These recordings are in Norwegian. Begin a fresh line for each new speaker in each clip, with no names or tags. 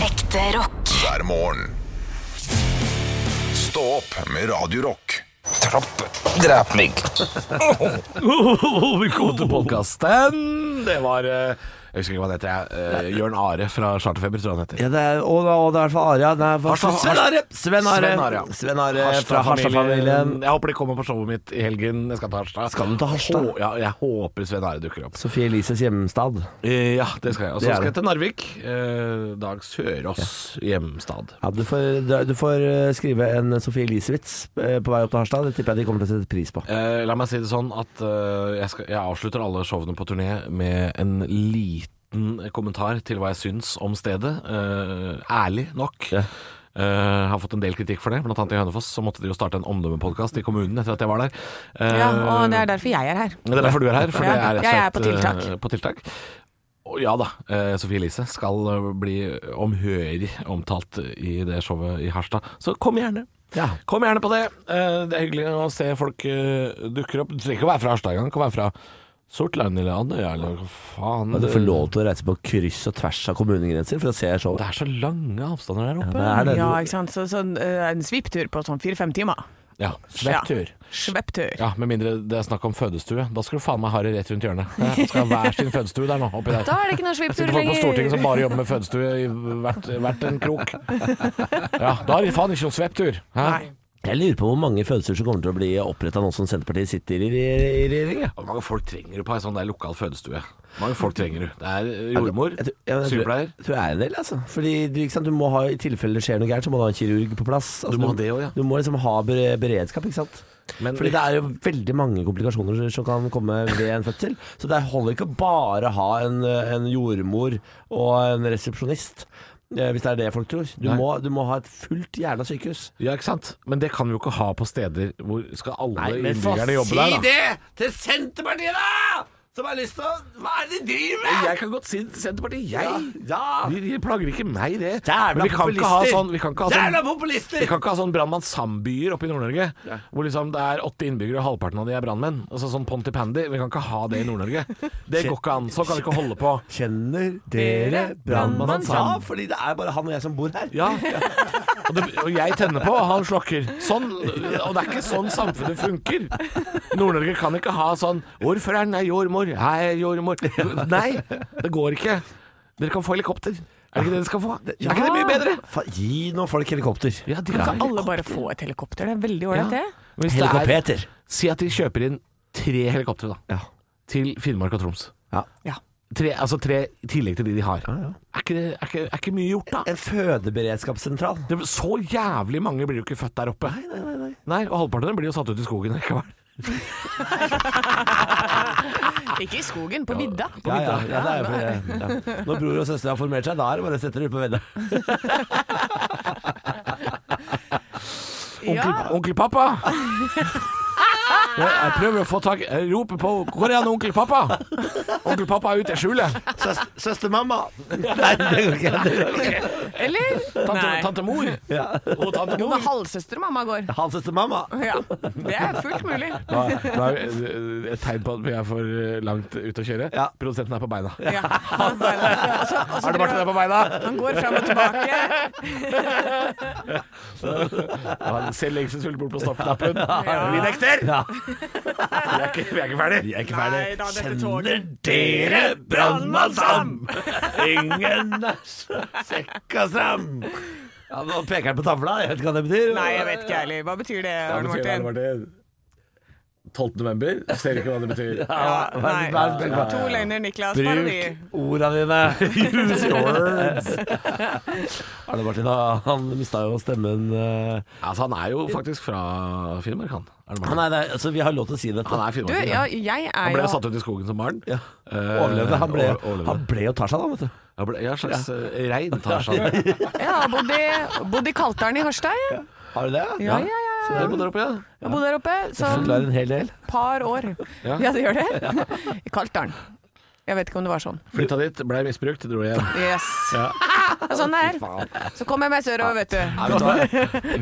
Ekte rock.
hver morgen. Stå opp med Radio Rock.
Trapp, drep meg.
Velkommen til podkasten. Det var eh, Jeg husker ikke hva han heter. jeg. Eh, Jørn Are fra Charterfeber, tror jeg han heter.
Ja, det er, og, da- og det er i hvert fall Aria. Det er i hvert fall-
Harstad- Harst-
Sven Are.
Sven Are, ja.
Sven Are fra Harstad-familien.
Jeg håper de kommer på showet mitt i helgen. Jeg skal til Harstad.
Skal du til Harstad?
Hå- ja, jeg håper Sven Are dukker opp.
Sofie Elises hjemstad.
Eh, ja, det skal jeg. Og så
Det er
skal
det.
jeg til Narvik. Eh, Dag Sørås hjemstad.
Ja, du, får, du får eh, skrive en Sofie Elise-vits eh, på vei opp til Harstad. Det tipper jeg de kommer til å sette pris på.
Eh, la meg si det sånn at eh, jeg, skal, jeg avslutter alle showene på turné med en liten kommentar til hva jeg syns om stedet. Eh, ærlig nok.
Ja.
Eh, har fått en del kritikk for det, blant annet i Hønefoss. Så måtte de jo starte en omdømmepodkast i kommunen etter at jeg var der. Eh,
Ja, og det er derfor jeg er her.
det er derfor du er her, for
Ja,
det er rett og
jeg er på
slett,
tiltak.
eh, på tiltak. Og ja da, eh, Sofie Elise skal eh, bli omhørig omtalt i det showet i Harstad, så kom gjerne.
Ja.
Kom gjerne på det. Eh, Det er hyggelig å se folk eh, dukker opp. Du trenger ikke å være fra Harstad engang. Du Kan være fra Sortland eller Andøya eller hva faen.
Du får lov til å reise på kryss og tvers av kommunegrenser for å se showet.
Det er så lange avstander der oppe.
Ja, det er det.
Ja, ikke sant. Så, sånn, eh, en svipptur på sånn fire-fem timer.
Ja, Svepptur.
Ja. Svepptur.
Ja, Med mindre det er snakk om fødestue. Da skal du faen meg ha det rett rundt hjørnet. Det skal ha hver sin fødestue der nå. oppi der
Da er det ikke noe
Sitter
sviptur
folk på Stortinget som
lenger.
bare jobber med fødestue i hvert, hvert en krok. Ja, da har de faen ikke noen svepptur. Hæ?
Nei.
Jeg lurer på hvor mange fødsler som kommer til å bli oppretta nå som Senterpartiet sitter i, i, i regjering. jeg.
Hvor mange folk trenger du på ei sånn der lokal fødestue? Hvor mange folk trenger du? Det er jordmor,
Jeg tror- jeg- jeg tror-
sykepleier.
Jeg tror det er en del, altså. Fordi du, ikke sant? du må ha, i tilfelle det skjer noe gærent, så må du ha en kirurg på plass. Altså,
Du må ha det også, ja.
Du må liksom ha bere- beredskap, ikke sant.
Men-
Fordi det er jo veldig mange komplikasjoner som kan komme ved en fødsel. Så det holder ikke å bare ha en, en jordmor og en resepsjonist. eh, Hvis det er det folk tror. Du,
Nei.
må, du må ha et fullt jævla sykehus.
Ja, ikke sant? Men det kan vi jo ikke ha på steder hvor skal alle innbyggerne jobbe der, da?
det til Senterpartiet, da! Som har lyst til å Hva er det de driver
Jeg kan godt si Senterpartiet, jeg.
Ja, ja.
De, de plager ikke meg, det.
Jævla
Men vi kan ikke ha
populister.
sånn, vi kan ikke ha sånn
Jævla populister!
Vi kan ikke ha sånn brannmann Sam-byer oppe i Nord-Norge, hvor liksom det er åtte innbyggere og halvparten av de er brannmenn. Altså sånn Ponty Pandy. Vi kan ikke ha det i Nord-Norge. Det går ikke an. Sånn kan vi ikke holde på.
Kjenner dere
Brandmann
brannmannen
Sam?
Ja, fordi det er bare han og jeg som bor her.
Ja. Og, det, og jeg tenner på, og han slokker. Sånn, og det er ikke sånn samfunnet funker. Nord-Norge kan ikke ha sånn 'Ordføreren er jordmor, jeg er jordmor'. Nei, det går ikke. Dere kan få helikopter. Er det ikke det dere skal få? Er ikke det mye bedre?
Fa gi nå folk helikopter.
Ja, de kan
Kan
ta alle.
alle bare få et helikopter? Det er veldig ålreit,
Ja.
det.
Hvis det er,
Helikopter.
si at de kjøper inn tre helikoptre, da.
Ja.
Til Finnmark og Troms.
Ja.
Ja.
Tre, altså tre i tillegg til de de har. Er, ikke det, er, ikke, er ikke mye gjort, da?
En fødeberedskapssentral.
Det, så jævlig mange blir jo ikke født der oppe. Nei, nei, nei, nei. og halvparten av dem blir jo satt ut i skogen likevel.
Ikke i skogen, på vidda.
Ja, ja, ja, det er jo fordi- ja. Når bror og søster har formert seg, da er det bare å sette dem ut på vedda.
Onkel, onkel pappa! Jeg, jeg prøver å få tak Jeg roper på Hvor er han onkel pappa? Onkel pappa er ute i skjulet.
Søs- Søstermamma! Nei, det går ikke. Det går ikke.
Eller?
Tante,
Nei.
tante mor.
Ja.
Og tante
Jo,
mor.
men halvsøster og mamma går.
Halvsøstermamma.
Ja, det er fullt mulig.
Nå er- nå er det et tegn på at vi er for langt ute å kjøre.
Ja.
Produsenten er på beina.
Ja. Altså, Han bare- og så-
Er
og så
det Martin er
driver-
på beina?
Han går fram og tilbake.
Ja, han ser lengselsfullt bort på stoppknappen. Vi nekter!
Ja.
Vi er ikke, vi er ikke ferdig.
Vi er ikke
Nei da, dette toget.
dere Brannmann Sam? Ingen er så sekka Sam. Ja, nå peker han på tavla. Jeg vet ikke hva det betyr.
Nei, jeg vet ikke ærlig. Hva betyr det, Arne Martin?
12. november, ser ikke hva det betyr.
Ja,
Vær- vær- vær-
nei.
vær-
To løgner, Niklas. Bare de.
Bruk orda dine.
Use yours.
Arne Martin han- han mista jo stemmen. eh.
Altså, han er jo faktisk fra Finnmark, han. Er det
Han
Martin?
er, der, altså, vi har lov til å si dette.
Han er
Du,
finnmarking.
ja, jeg er
Han ble jo
jo
satt ut i skogen som barn.
Ja.
Eh,
Overlevde. Han ble,
over- overlevde.
han ble jo Tarzan, da, vet du.
Han ble- Ja, en slags eh, rein Tarzan.
Ja, bodde, bodde i Kalteren i Harstad, jeg.
Har du det?
Ja, ja, ja.
Der bodde der oppe, ja.
Jeg bodde der oppe
Forklarer
som
en hel del.
par år.
Ja.
Ja, det gjør det. I Kalteren. Jeg vet ikke om det var sånn.
Flytta dit, ble misbrukt, dro hjem.
Yes.
Ja.
Og Sånn det er. Så kom jeg meg sørover, vet du.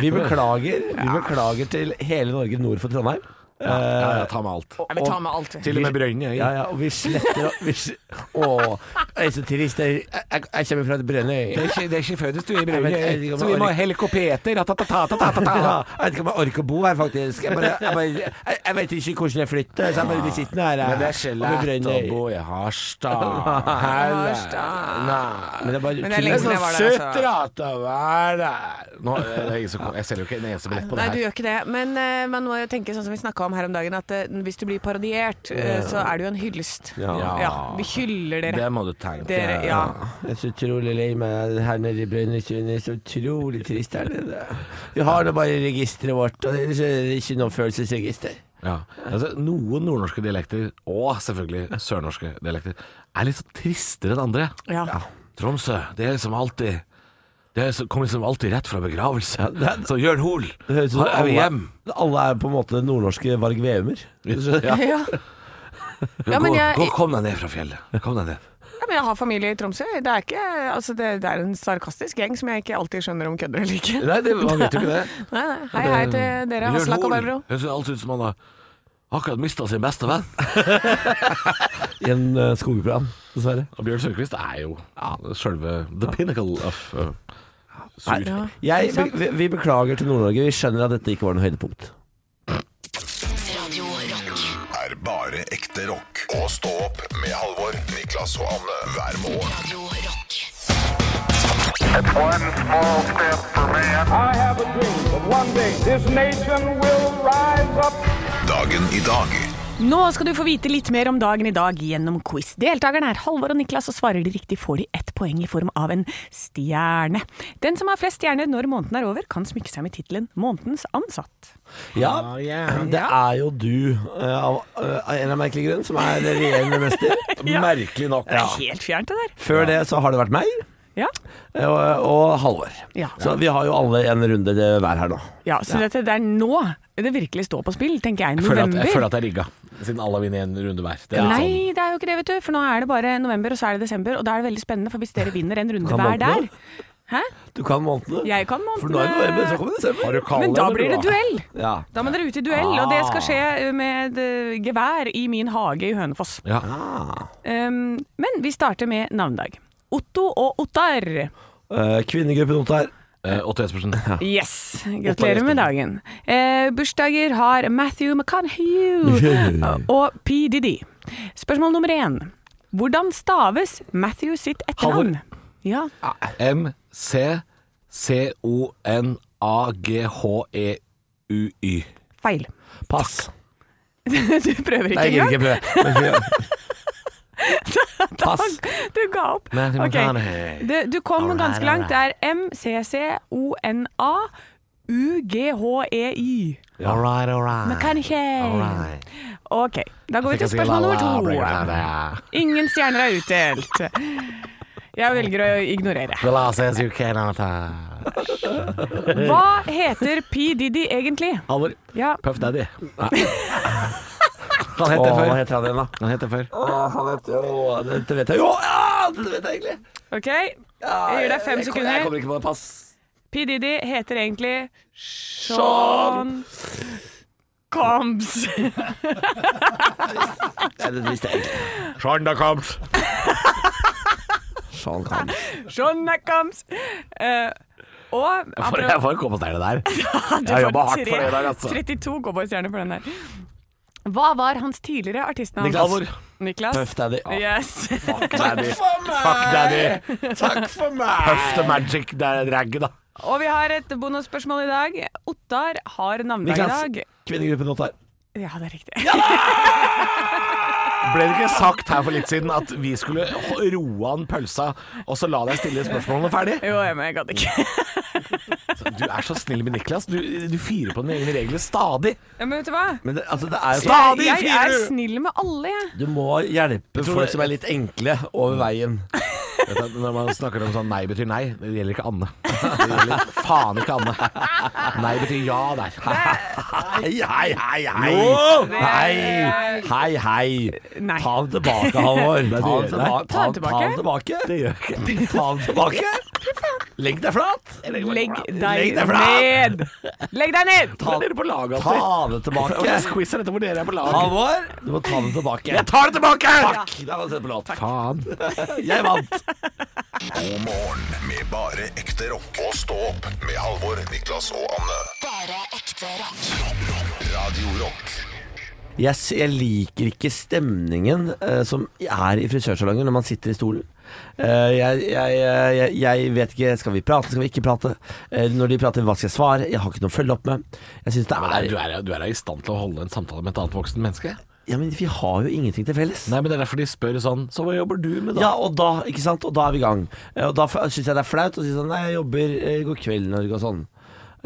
Vi beklager, vi beklager til hele Norge nord for Trondheim.
Ja, ja, ta med alt.
Jeg vil ta med alt.
Til og med Brøyne.
Ja, ja, og vi sletter og vi s- Å, jeg er så trist. Jeg, jeg, jeg kommer fra et Brønnøy.
er ikke, det er ikke fødestue i
Brønnøy,
eh,
så vi må
helikopeter
Ja, jeg vet ikke om jeg orker å bo her, faktisk. Jeg, bare, jeg, bare, jeg, jeg vet ikke hvordan jeg flytter, så jeg bare blir sittende her. jeg.
Men det er ikke
Og med
lett å
Brønnøy.
bo i Harstad.
Harstad.
Men det er bare
Men
Det
tull.
det er
er
lenge-
så
Jeg var der, altså.
søtt at å være der. Nå, eh, det er ingen som kommer. Jeg selger jo ikke en eneste billett på
Nei,
det
du
her.
gjør ikke det. Men eh, man må jo tenke sånn som vi snakka om her om dagen, at eh, hvis du blir parodiert, eh, så er det jo en hyllest.
Ja.
Vi hyller dere.
Det må du tenke.
Dere, ja.
Jeg er så utrolig lei meg her nede i Brønnøysund. Det er så utrolig trist her nede. Vi har nå bare registeret vårt, og ellers er det ikke noe følelsesregister.
Ja. Altså, noen nordnorske dialekter, og selvfølgelig sørnorske dialekter, er litt så tristere enn andre.
Ja.
Tromsø, det er liksom alltid Det er så- kom liksom alltid rett fra begravelse. Så Jørn Hoel,
Det høres ut som
her er vi
alle-
hjem.
Alle er på en måte nordnorske Varg Veumer.
Ja.
Ja. Ja, men
gå,
jeg-
gå, kom deg ned fra fjellet. Kom deg ned.
Ja, men jeg har familie i Tromsø. Det er, ikke, altså det, det er en sarkastisk gjeng som jeg ikke alltid skjønner om kødder eller ikke.
Nei, det, man vet jo ikke det.
Nei, nei. Hei, hei til dere,
Jørn
Aslak og
Hoel,
Barbro.
Høres alt ut som han har akkurat mista sin beste venn.
I en uh, skogbrann, dessverre.
Og Bjørn Sundquist er jo sjølve the pinnacle of uh, sur.
Nei, jeg,
ikke sant?
vi, vi beklager til Nord-Norge. Vi skjønner at dette ikke var noe høydepunkt.
Er bare ekte rock. Og stå opp med Halvor, Niklas og Anne hver morgen.
It's one small step for man.
I have a dream that one day this nation will rise up.
Dagen i dag
Nå skal du få vite litt mer om dagen i dag gjennom quiz. Deltakerne er Halvor og Niklas, og svarer de riktig får de ett poeng i form av en stjerne. Den som har flest stjerner når måneden er over, kan smykke seg med tittelen 'Månedens ansatt'.
Ah, Ja, det er jo du, eh, av eh, av en eller annen merkelig grunn, som er regjerende mester.
Merkelig nok.
Ja.
Helt fjernt, det der.
Før det så har det vært meg
Ja,
eh, og, og Halvor.
Ja.
Så vi har jo alle en runde eh, hver her nå.
ja Så dette det er nå det virkelig står på spill, tenker jeg.
Jeg føler, at,
November.
jeg føler at jeg rigga, siden alle har vunnet en runde hver. Det er litt sånn-
Nei, det er jo ikke det, vet du. For nå er det bare november, og så er det desember. Og da er det veldig spennende, for hvis dere vinner en runde
Kan
hver
månedene?
der Hæ?
Du kan månedene.
Jeg kan månedene.
For nå er det november, så kommer desember.
du kallet
Men da
eller
blir det
du har-
duell.
Ja.
Da må dere ut i duell, og
Ah.
det skal skje eh, med eh, gevær i min hage i Hønefoss.
Ja.
Um, men vi starter med navnedag. Otto og Ottar.
Eh, Kvinnegruppen Ottar.
Eh, Otto Jespersen.
Yes,
Ottar
gratulerer
Jespersen.
med dagen. Eh, bursdager har Matthew McConaughey
Yeah.
og P. Diddy. Spørsmål nummer én. Hvordan staves Matthew sitt etternavn? Ja,
E M-C-C-O-N-A-G-H-E-U-Y.
feil.
Pass.
Du prøver ikke
Nei, jeg
engang.
gidder ikke prøve. Pass.
Du ga opp.
Matthew
Ok.
McConaughey.
Det, du kom
Alright,
ganske langt. Det er M-C-C-O-N-A-U-G-H-E-Y.
All right, all
Ah,
right.
McConaughey.
Right.
Ok, da går vi til
Jeg skal
spørsmål
si la, la,
nummer
bring it down
to.
there.
Ingen stjerner er utdelt. Jeg velger å ignorere.
The law says you cannot have.
Hva heter P. Diddy egentlig?
Halvor.
Ja,
Puff Daddy. Han het det
Åh,
før.
hva heter han igjen, da?
Han het det før.
Åh, han heter Åh, Dette vet jeg jo! Ja, dette vet jeg egentlig.
ok. Jeg gir deg fem
Jeg
sekunder.
kommer ikke på det. Pass.
P. Diddy heter egentlig Sean Combs.
Nei, det visste jeg egentlig.
Shanda Combs.
Sean Combs.
Sean McCombs. Eh, og
Jeg får, jeg får en cowboystjerne der.
Du
Jeg
får
jobba hardt
tre-
for det der, altså.
32 cowboystjerner for den der. Hva var hans tidligere artistnavn?
Niklas. Halvor.
Niklas.
Puff Daddy.
Yes.
Daddy. Fuck Daddy.
Takk for meg!
Puff the magic da- drag, da.
Og vi har et bonusspørsmål i dag. Ottar har navnedag i
Niklas.
dag.
Kvinnegruppen Ottar.
Ja, det er riktig.
Ble det ikke sagt her for litt siden at vi skulle roe an pølsa, og så la deg stille spørsmålene ferdig?
Jo, jeg, men jeg gadd ikke.
Du er så snill med Niklas. Du, du fyrer på dine egne regler stadig.
Ja, Men vet du hva?
Men det, altså, det er jo
Stadig!
Jeg, jeg
fyrer
er
du.
snill med alle, jeg.
Du må hjelpe
tror
folk
det-
som er litt enkle, over veien.
Vet du, når man snakker om sånn nei betyr nei, det gjelder ikke Anne. Det gjelder faen ikke Anne. Nei betyr ja der.
Hei, hei, hei! Hei, hei, hei! hei.
Nei.
Ta den tilbake, Halvor. Ta den
gjør-
tilbake. Ta den tilbake.
Det gjør ikke
Ta den tilbake.
Legg deg flat!
Legg
Legg
deg
deg flat!
ned! Legg deg ned!
Ta dere på laget
Ta
alltid.
det
Og det
tilbake.
er quiz er dette hvor dere er på lag.
Halvor, du må ta det tilbake.
Jeg tar det tilbake!
Takk! Da var det på låt.
Faen.
Jeg vant.
God morgen med bare ekte rock. Og stå opp med Halvor, Niklas og Anne.
Bare ekte rock.
Radio Rock.
Jeg, s- jeg liker ikke stemningen eh, som er i frisørsalongen når man sitter i stolen. Eh, jeg, jeg, jeg, jeg vet ikke Skal vi prate, skal vi ikke prate? Eh, når de prater, hva skal jeg svare? Jeg har ikke noe å følge opp med. Jeg synes det
Nei,
er
Du er, du er da i stand til å holde en samtale med et annet voksen menneske?
Ja, men vi har jo ingenting til felles.
Nei, men det er derfor de spør sånn Så hva jobber du med,
Ja,
da?
og da, ikke sant? Og da er vi i gang. Eh, Og da syns jeg det er flaut å si sånn Nei, jeg jobber eh, God kveld, Norge og sånn.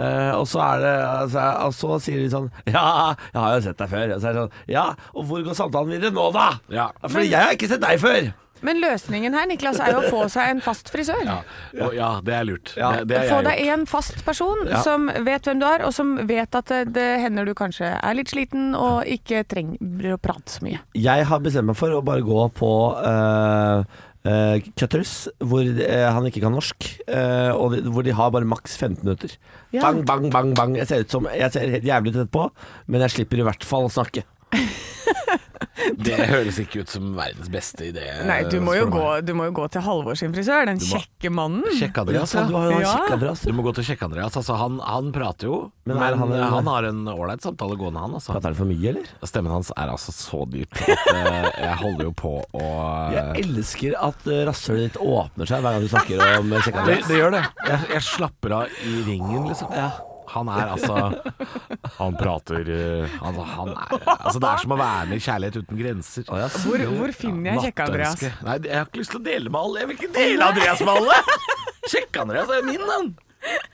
Eh, og så er det altså, Og så sier de sånn Ja, jeg har jo sett deg før. Og så er det sånn Ja, og hvor går samtalen videre nå, da?
Ja.
For jeg har ikke sett deg før.
Men løsningen her, Niklas, er jo å få seg en fast frisør.
Ja, og, ja det er lurt.
Ja.
Det, det er
Få
jeg
deg
gjort.
en fast person som vet hvem du er, og som vet at det, det hender du kanskje er litt sliten og ikke trenger å prate så mye.
Jeg har bestemt meg for å bare gå på eh, eh, Cutters, hvor eh, han ikke kan norsk. eh, og de, hvor de har bare maks 15 minutter.
Ja.
Bang, bang, bang. bang Jeg ser ut som Jeg ser helt jævlig ut etterpå, men jeg slipper i hvert fall å snakke.
Det høres ikke ut som verdens beste idé.
Nei,
Eh,
du må jo gå, du må jo gå til Halvor sin frisør, den kjekke mannen.
Mm. Sjekk Andreas,
Ja, du
ja.
har jo
Ja.
kikk, Andreas.
Du må gå til Sjekk Andreas. Altså, han, han prater jo,
Men
men,
er han
han,
en-
har en ålreit samtale gående, han. Altså.
Prater du for mye, eller?
Stemmen hans er altså så dyp at eh, jeg holder jo på å
Jeg elsker at eh, rasshølet ditt åpner seg hver gang du snakker om eh,
det,
Sjekk-Andreas.
det gjør det. Jeg, jeg slapper av i ringen, liksom. Han er altså Han prater eh, han, han er, altså Det er som å være med i Kjærlighet uten grenser.
Hvor, hvor finner jeg kjekke Andreas?
Nattønske. Nei, jeg har ikke lyst til å dele med alle. Jeg vil ikke dele Andreas med alle! Sjekk-Andreas er min, han.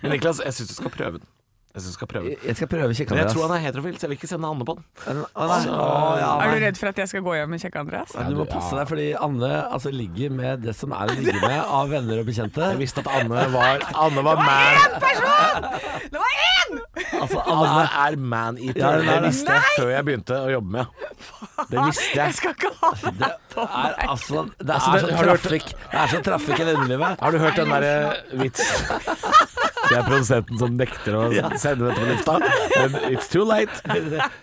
Men Niklas, jeg syns du skal prøve den. Jeg synes du skal prøve den.
Jeg skal prøve
Men jeg tror
Sjekk-Andreas.
han er heterofil, så jeg vil ikke sende Anne på den.
Er du redd for at jeg skal gå hjem med kjekke Andreas?
Du må passe deg, fordi Anne altså, ligger med det som er å ligge med av venner og bekjente.
Jeg visste at Anne var Anne var man
Det var én!
Altså,
Anne
Anne
er man-eater.
Ja, hun er
det
det.
visste jeg før jeg begynte å jobbe med. Det visste
Jeg
jeg.
skal ikke ha det der på
er
meg.
altså
Altså,
Det er
det-
sånn
har du hørt-
trafikk Det er sånn trafikk i vennelivet.
Har du hørt den derre vits? Det er produsenten som nekter å sende dette på lufta. Men it's too late.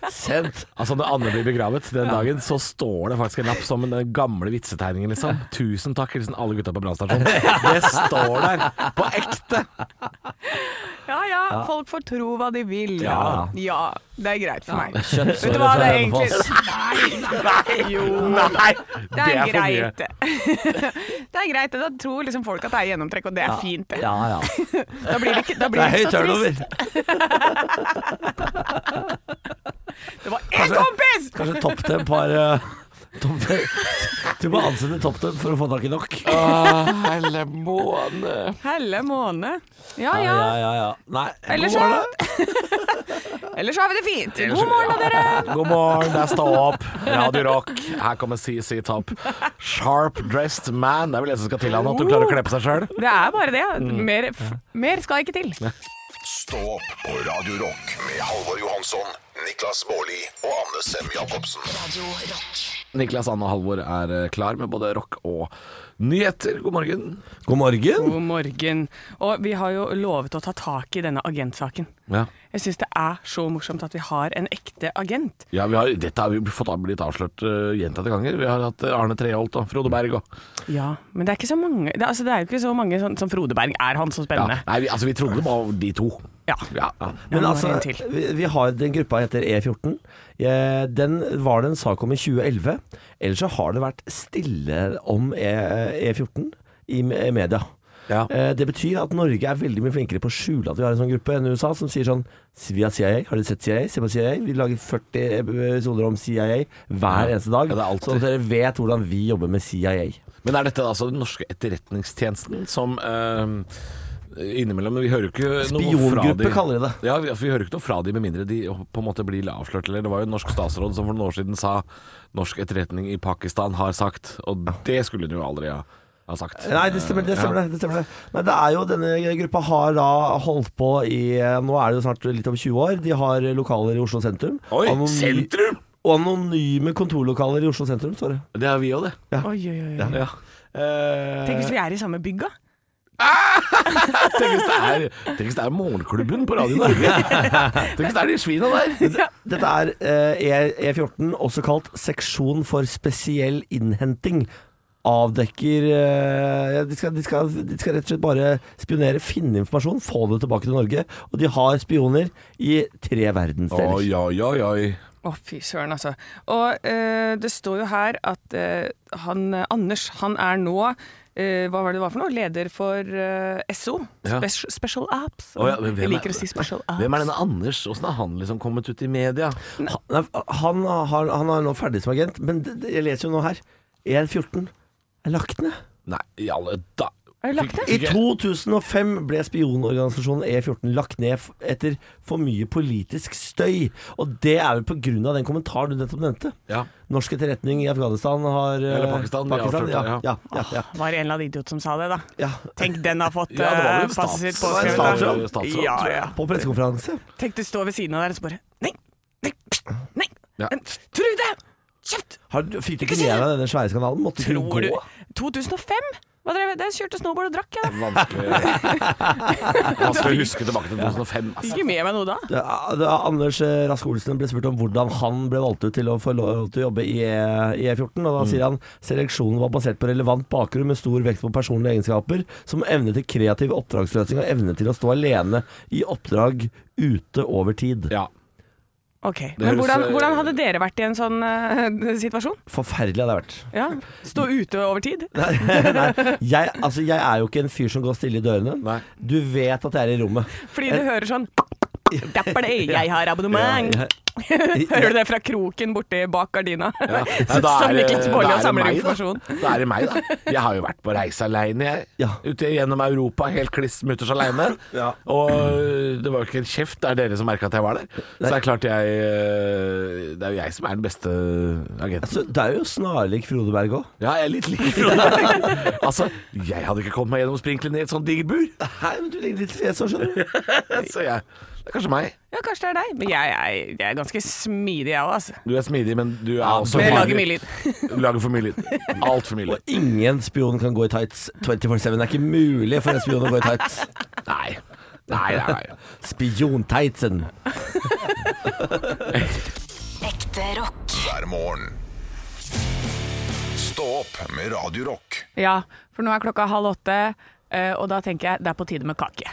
Sendt.
Altså Når Anne blir begravet den dagen, så står det faktisk en lapp som den gamle vitsetegningen, liksom. 'Tusen takk, hilsen alle gutta på brannstasjonen'. Det står der. På ekte.
Ja ja, folk får tro hva de vil.
Ja.
ja det er greit for meg.
Kjøttsåret
Vet du hva,
fra
det er
Hønefoss.
egentlig Nei, jo.
Nei!
Det er greit. Det er greit, det. Da tror liksom folk at det er gjennomtrekk, og det er fint, det.
Ja, ja.
Da blir det ikke, da
Det
blir
er
det
høy
ikke så trist.
turnover.
Det var én kompis!
Kanskje topptem sånn par uh, Du må ansette topptem for å få tak i nok.
Helle måne.
Helle måne. Ja
Ja,
ja.
ja, ja. ja. Nei,
Ellers
god morgen,
så-
da.
Ellers har vi det fint. God morgen, da, dere.
God morgen, det er Stå opp, Radio Rock. Her kommer CC Top. Sharp dressed man. Det er vel det som skal til han, at du klarer å kle på seg sjøl.
Det er bare det.
Mm.
Mer, f- mer skal ikke til.
Stå opp på Radio Rock med Halvor Johansson, Niklas Baarli og Anne Sem Jacobsen.
Radio rock.
Niklas, Anne og Halvor er eh, klar med både rock og nyheter. God morgen.
God morgen.
God morgen. Og vi har jo lovet å ta tak i denne agentsaken.
Ja,
Jeg syns det er så morsomt at vi har en ekte agent.
vi har, Dette har vi fått av- blitt avslørt eh, gjentatte ganger. Vi har hatt eh, Arne Treholt og Frode Berg og
Ja, men det er ikke så mange Det, altså, det er jo ikke så mange sånn, som Frode Berg er han så
ja.
spennende.
Nei, vi, altså, vi trodde det var de to.
Ja.
Ja.
Ja,
Men
nå er
altså,
det en til.
vi, vi har den gruppa heter E14. Eh, Den var det en sak om i 2011. Ellers så har det vært stille om E, E14 i me- media.
Ja.
Eh, Det betyr at Norge er veldig mye flinkere på å skjule at vi har en sånn gruppe enn USA, som sier sånn Vi har CIA, har dere sett CIA? Se på CIA. Vi lager 40 episoder om CIA hver eneste dag.
Ja, det er alltid.
sånn at dere vet hvordan vi jobber med CIA.
Men er dette altså den norske etterretningstjenesten som eh, Innimellom Vi hører jo ikke noe fra
Spiongruppe
de-
kaller de det.
Ja, vi, for vi hører ikke noe fra de med mindre de på en måte blir avslørt. Eller det var jo en norsk statsråd som for noen år siden sa norsk etterretning i Pakistan har sagt, og det skulle hun jo aldri ha, ha sagt.
Nei, det stemmer, det
Ja.
stemmer, det, det stemmer det. Men det er jo, denne gruppa har da holdt på i eh, Nå er det jo snart litt over 20 år. De har lokaler i Oslo sentrum.
Oi,
Anony-
sentrum!
Og anonyme kontorlokaler i Oslo sentrum, står det.
Det har vi òg, det.
Oi, oi, oi.
Ja.
Tenk hvis vi er i samme bygg, da.
Tenk hvis det er, tenk hvis det er morgenklubben på Radio Norge. Tenk hvis det er de svina der.
Dette er eh, E- E14, også kalt seksjon for spesiell innhenting. Avdekker eh, ja, de, skal, de, skal, de skal rett og slett bare spionere, finne informasjon, få det tilbake til Norge. Og de har spioner i tre verdensdeler.
Oi, oi, oi, oi.
Å, fy søren, altså. Og eh, det står jo her at eh, han eh, Anders, han er nå eh, hva var det det var for noe? Leder for eh, SO.
Ja.
Spes- special Apps.
Å ja, men hvem
jeg liker
er-
å si Special Apps.
Hvem er denne Anders? Åssen har han liksom kommet ut i media?
Han, nei, han, har, han er nå ferdig som agent, men det, det, jeg leser jo nå her E14 er lagt ned.
Nei, i alle da...
Er det lagt ned?
I 2005 ble spionorganisasjonen E14 lagt ned f- etter for mye politisk støy. Og det er vel pga. den kommentaren du nettopp nevnte.
Ja.
Norsk etterretning i Afghanistan har eh,
Eller Pakistan, de avslørte,
ja,
ja.
ja, ja, ja,
Var det en eller annen idiot som sa det, da?
ja.
Tenk, den har fått
Ja, det var vel
eh,
en stats-
passet sitt
det var en
påskrevet.
statsråd,
da.
statsråd,
ja,
tror jeg.
ja.
På pressekonferanse.
Tenk, du står ved siden av der og så bare Nei! Nei! Nei!
Ja.
nei, Trude! Kjeft!
Har, fikk du ikke med deg denne svære skandalen? Måtte du
Tror
gå?
du 2005? Hva drev jeg? Der kjørte snowboard og drakk, jeg. da.
Vanskelig Vanskelig å huske tilbake til 2005.
Fikk
Altså.
Ikke med meg noe da.
Ja, det- Anders eh, Rask Olsen ble spurt om hvordan han ble valgt ut til å få lov til å jobbe i E- i E14. Og da sier han seleksjonen var basert på relevant bakgrunn med stor vekt på personlige egenskaper, som evne til kreativ oppdragsløsning og evne til å stå alene i oppdrag ute over tid.
Ja.
Ok,
høres,
Men hvordan,
eh,
hvordan hadde dere vært i en sånn eh, situasjon?
Forferdelig hadde det vært.
Ja, Stå ute over tid?
Nei, jeg, altså, jeg er jo ikke en fyr som går stille i dørene.
Nei.
Du vet at jeg er i rommet.
Fordi du hører sånn Dapper det, jeg har abonnement! Hører du det fra kroken borti bak gardina?
Nei, da
Som
er det-
Niklas
da
Baarli
er
og
det
samler
meg, da.
informasjon.
Da er det meg, da. Jeg har jo vært på reise aleine, jeg.
Ja.
Ute gjennom Europa, helt kliss mutters aleine. Og øh, det var jo ikke en kjeft, det er dere som merka at jeg var der. Så det er klart jeg eh, Det er jo jeg som er den beste agenten.
Så Altså, det er jo snarlik Frode Berg òg.
Ja, jeg er litt lik Frode Berg. Altså, jeg hadde ikke kommet meg gjennom sprinklene i et sånt digert bur.
Nei, men du ligner litt fjes òg, skjønner du.
Så jeg Det er kanskje meg.
Ja, kanskje det er deg. Men jeg, jeg, jeg er ganske smidig, jeg òg, altså.
Du er smidig, men du er også
Jeg lager mye
farlig.
lyd.
Du lager for mye lyd. Altfor mye lyd.
Og ingen spion kan gå i tights 24-7. Det er ikke mulig for en spion å gå i tights.
Nei. Nei, nei, nei.
Spiontightsen.
Ekte rock.
hver morgen. Stå opp med Radio Rock.
Ja, for nå er klokka halv åtte, eh, og da tenker jeg det er på tide med kake.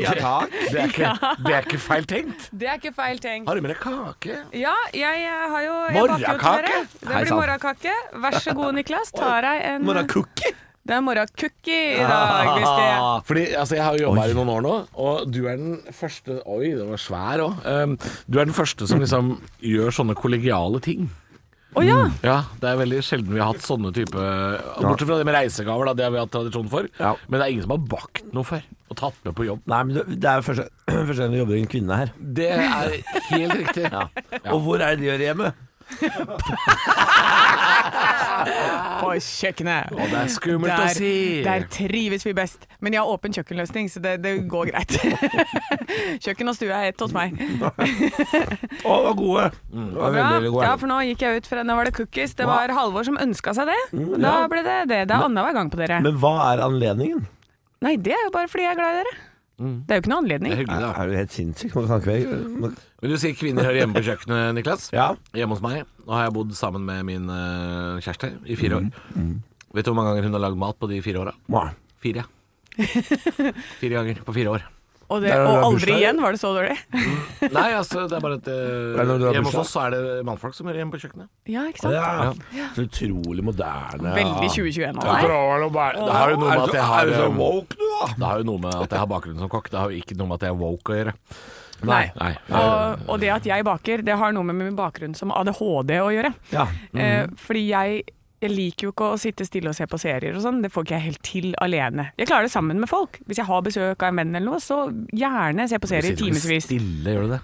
Ja, takk.
Det er ikke, det er ikke feil tenkt.
Det er ikke feil tenkt.
Har du med deg kake?
Ja, jeg eh, har jo jeg
Morgenkake?
baker jo til dere. Det
Hei
blir
sann.
morgenkake. Vær så god, Niklas. Ta deg en eh,
cookie?
Det er morgenkookie i dag, hvis det er
Fordi altså, Jeg har jo jobba her i noen år nå, og du er den første Oi, den var svær òg. du er den første som liksom gjør sånne kollegiale ting.
Å ja!
Ja, Det er veldig sjelden vi har hatt sånne type Bortsett fra det med reisegaver, da, det har vi hatt tradisjon for.
Ja.
Men det er ingen som har bakt noe før og tatt med på jobb.
Nei, men du- det er jo første, første gang du jobber med en kvinne her.
Det er helt riktig.
Og hvor er det de gjør hjemme?
På kjøkkenet.
Og det er skummelt å
Der,
si.
der trives vi best. Men jeg har åpen kjøkkenløsning, så det, det går greit. Kjøkken og stue er ett hos meg.
Å, det var gode. Det var
Ja,
veldig, veldig gode.
ja, for nå gikk jeg ut fra Nå var det cookies. Det var Halvor som ønska seg det. Da ble det det. Det er annenhver gang på dere.
Mm, Men hva er anledningen?
Nei, det er jo bare fordi jeg er glad i dere.
Mm.
Det er jo ikke noen
Det er
anledning.
hyggelig, da.
Er du helt sinnssyk? Man kan ikke være man-
Men du sier kvinner hører hjemme på kjøkkenet, Niklas.
Ja.
Hjemme hos meg. Nå har jeg bodd sammen med min eh, kjæreste i fire år. Vet du hvor mange ganger hun har lagd mat på de fire åra?
Nei.
Fire. Fire ganger på fire år.
Og, det,
Der er det
og aldri
bursdag.
igjen var det så dårlig.
Nei, altså, det er bare at
Er det når du
eh,
har
Hjemme hos
bursdag?
oss så er det mannfolk som hører hjemme på kjøkkenet.
Ja, ikke sant?
Ja. Så utrolig moderne.
Veldig 2021 av deg.
Det har jo noe med
Er du
at
så-
jeg
er
har
du så
eh,
woke, du, da?
det har jo noe med at jeg har bakgrunn som kokk. Det har jo ikke noe med at jeg er woke å gjøre.
Nei.
Nei.
Og, og det at jeg baker, det har noe med min bakgrunn som ADHD å gjøre.
Ja.
Eh,
Mhm.
fordi jeg, jeg liker jo ikke å sitte stille og se på serier og sånn. Det får ikke jeg helt til alene. Jeg klarer det sammen med folk. Hvis jeg har besøk av en venn eller noe, så gjerne se på
Du
serier i
sitter ikke
timevis.
stille, gjør du det?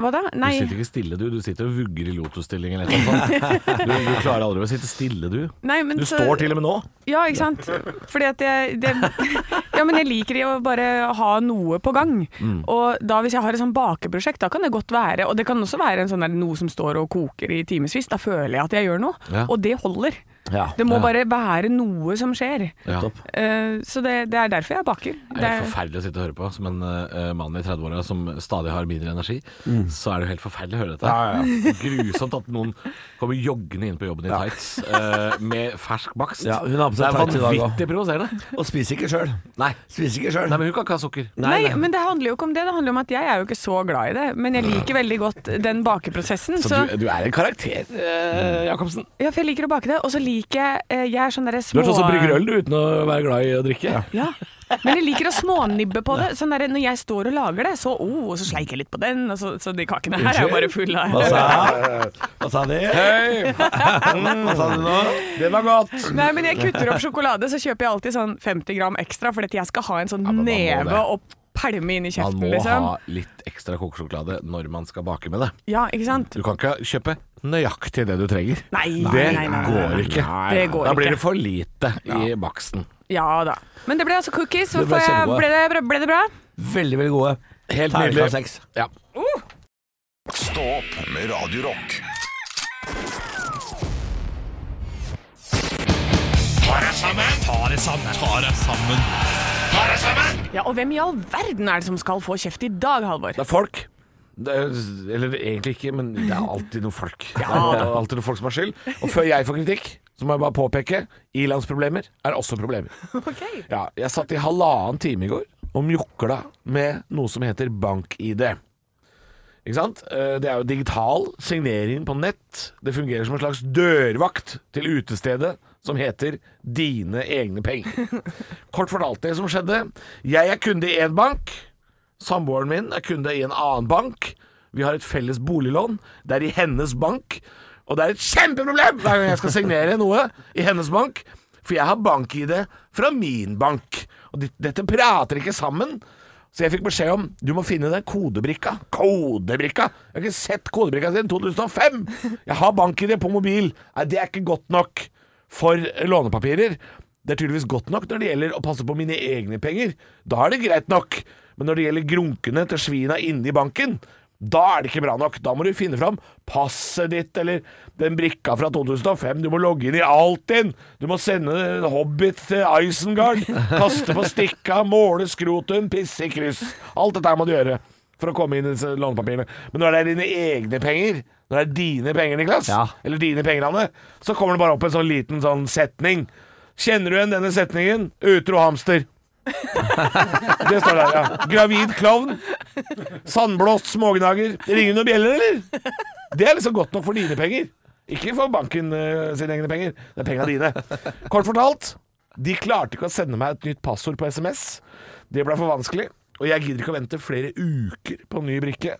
Hva da?
Du
Nei.
sitter ikke stille, du. Du sitter og vugger i lotusstilling eller noe sånt. Du, du klarer aldri å sitte stille, du.
Nei, men
Du
så-
står til og med nå.
Ja, ikke sant? Fordi at jeg det, Ja, men jeg liker å bare ha noe på gang.
Mm.
Og da hvis jeg har et sånn bakeprosjekt, da kan det godt være Og det kan også være en sånn der, noe som står og koker i timevis. Da føler jeg at jeg gjør noe.
Ja.
Og det holder.
Ja.
Det må bare være noe som skjer.
Ja.
Topp.
Eh, så det, det er derfor jeg baker.
Det er helt forferdelig å sitte og høre på. Som en eh, mann i 30-åra som stadig har mindre energi,
Mm.
så er det jo helt forferdelig å høre dette. Grusomt at noen kommer joggende inn på jobben i tights eh, med fersk bakst.
Ja, hun har på seg
det er
tights i dag
vanvittig provoserende.
Og spiser ikke sjøl.
Nei.
Spiser ikke sjøl.
Nei, men hun kan ikke ha sukker.
Nei, men det handler jo ikke om det. Det handler om at jeg er jo ikke så glad i det. Men jeg liker veldig godt den bakeprosessen. Så,
Så du, du er en karakter, eh, Jacobsen.
ja, for jeg liker å bake det. Og så liker jeg eh, Jeg er sånn derre
Du
små
er sånn som brygger øl du, uten å være glad i å drikke.
Ja. Men jeg liker å smånibbe på det. Sånn der, når jeg står og lager det, så oh, og så sleiker jeg litt på den. Og så, så de kakene her er jo bare fulle
Hva
av
sa, hva sa de?
Mm,
Hva sa de nå?
Det var godt.
Nei, men jeg kutter opp sjokolade, så kjøper jeg alltid sånn 50 gram ekstra, fordi at jeg skal ha en sånn
man må det.
neve og pælme inn i
Man
kjeften,
må
liksom.
ha litt ekstra kokesjokolade når man skal bake med det.
Ja, ikke sant?
Du kan ikke kjøpe nøyaktig det du trenger.
Nei,
Det
nei, nei, nei, nei.
går ikke.
Det går
da blir
ikke.
det for lite i baksten.
Ja da. Men det ble altså cookies.
Det ble
Hvorfor jeg-
kjempebra.
ble, det, bra- ble det bra?
Veldig, veldig gode.
Helt
Terningkast
nydelig.
seks.
Ja.
Stå opp med Radio Rock.
Ja, og hvem i all verden er det som skal få kjeft i dag, Halvor?
Det er folk. Det er, eller egentlig ikke, men det er alltid noen folk. Det er alltid noen folk som har skyld. Og før jeg får kritikk, så må jeg bare påpeke ilandsproblemer er også problemer. Ja, jeg satt i halvannen time i går og mjukla med noe som heter bank-ID. Ikke sant? Eh, Det er jo digital signering på nett. Det fungerer som en slags dørvakt til utestedet som heter Dine egne penger. Kort fortalt det som skjedde. Jeg er kunde i én bank. Samboeren min er kunde i en annen bank. Vi har et felles boliglån. Det er i hennes bank. Og det er et kjempeproblem hver gang jeg skal signere noe i hennes bank. For jeg har bank-ID fra min bank. Og dit- dette prater ikke sammen. Så jeg fikk beskjed om du må finne den kodebrikka. Kodebrikka! Jeg har ikke sett kodebrikka siden 2005! Jeg har bank-ID på mobil. Nei, det er ikke godt nok for lånepapirer. Det er tydeligvis godt nok når det gjelder å passe på mine egne penger. Da er det greit nok. Men når det gjelder grunkene til svina inne i banken, da er det ikke bra nok. Da må du finne fram passet ditt eller den brikka fra 2005. Du må logge inn i Altinn. Du må sende en Hobbit til Isengard. Kaste på stikka, måle skrotum, pisse i kryss. Alt dette her må du gjøre for å komme inn i disse lånepapirene. Men når det er dine egne penger, når det er dine penger, Niklas,
Ja.
eller dine penger, Anne, så kommer det bare opp en sånn liten sånn setning. Kjenner du igjen denne setningen? Utro hamster. Det står der, ja. Gravid klovn. Sandblåst smågnager. Ringer noen bjeller, eller? Det er liksom godt nok for dine penger. Ikke for banken eh, sine egne penger. Det er penga dine. Kort fortalt, de klarte ikke å sende meg et nytt passord på SMS. Det ble for vanskelig. Og jeg gidder ikke å vente flere uker på en ny brikke.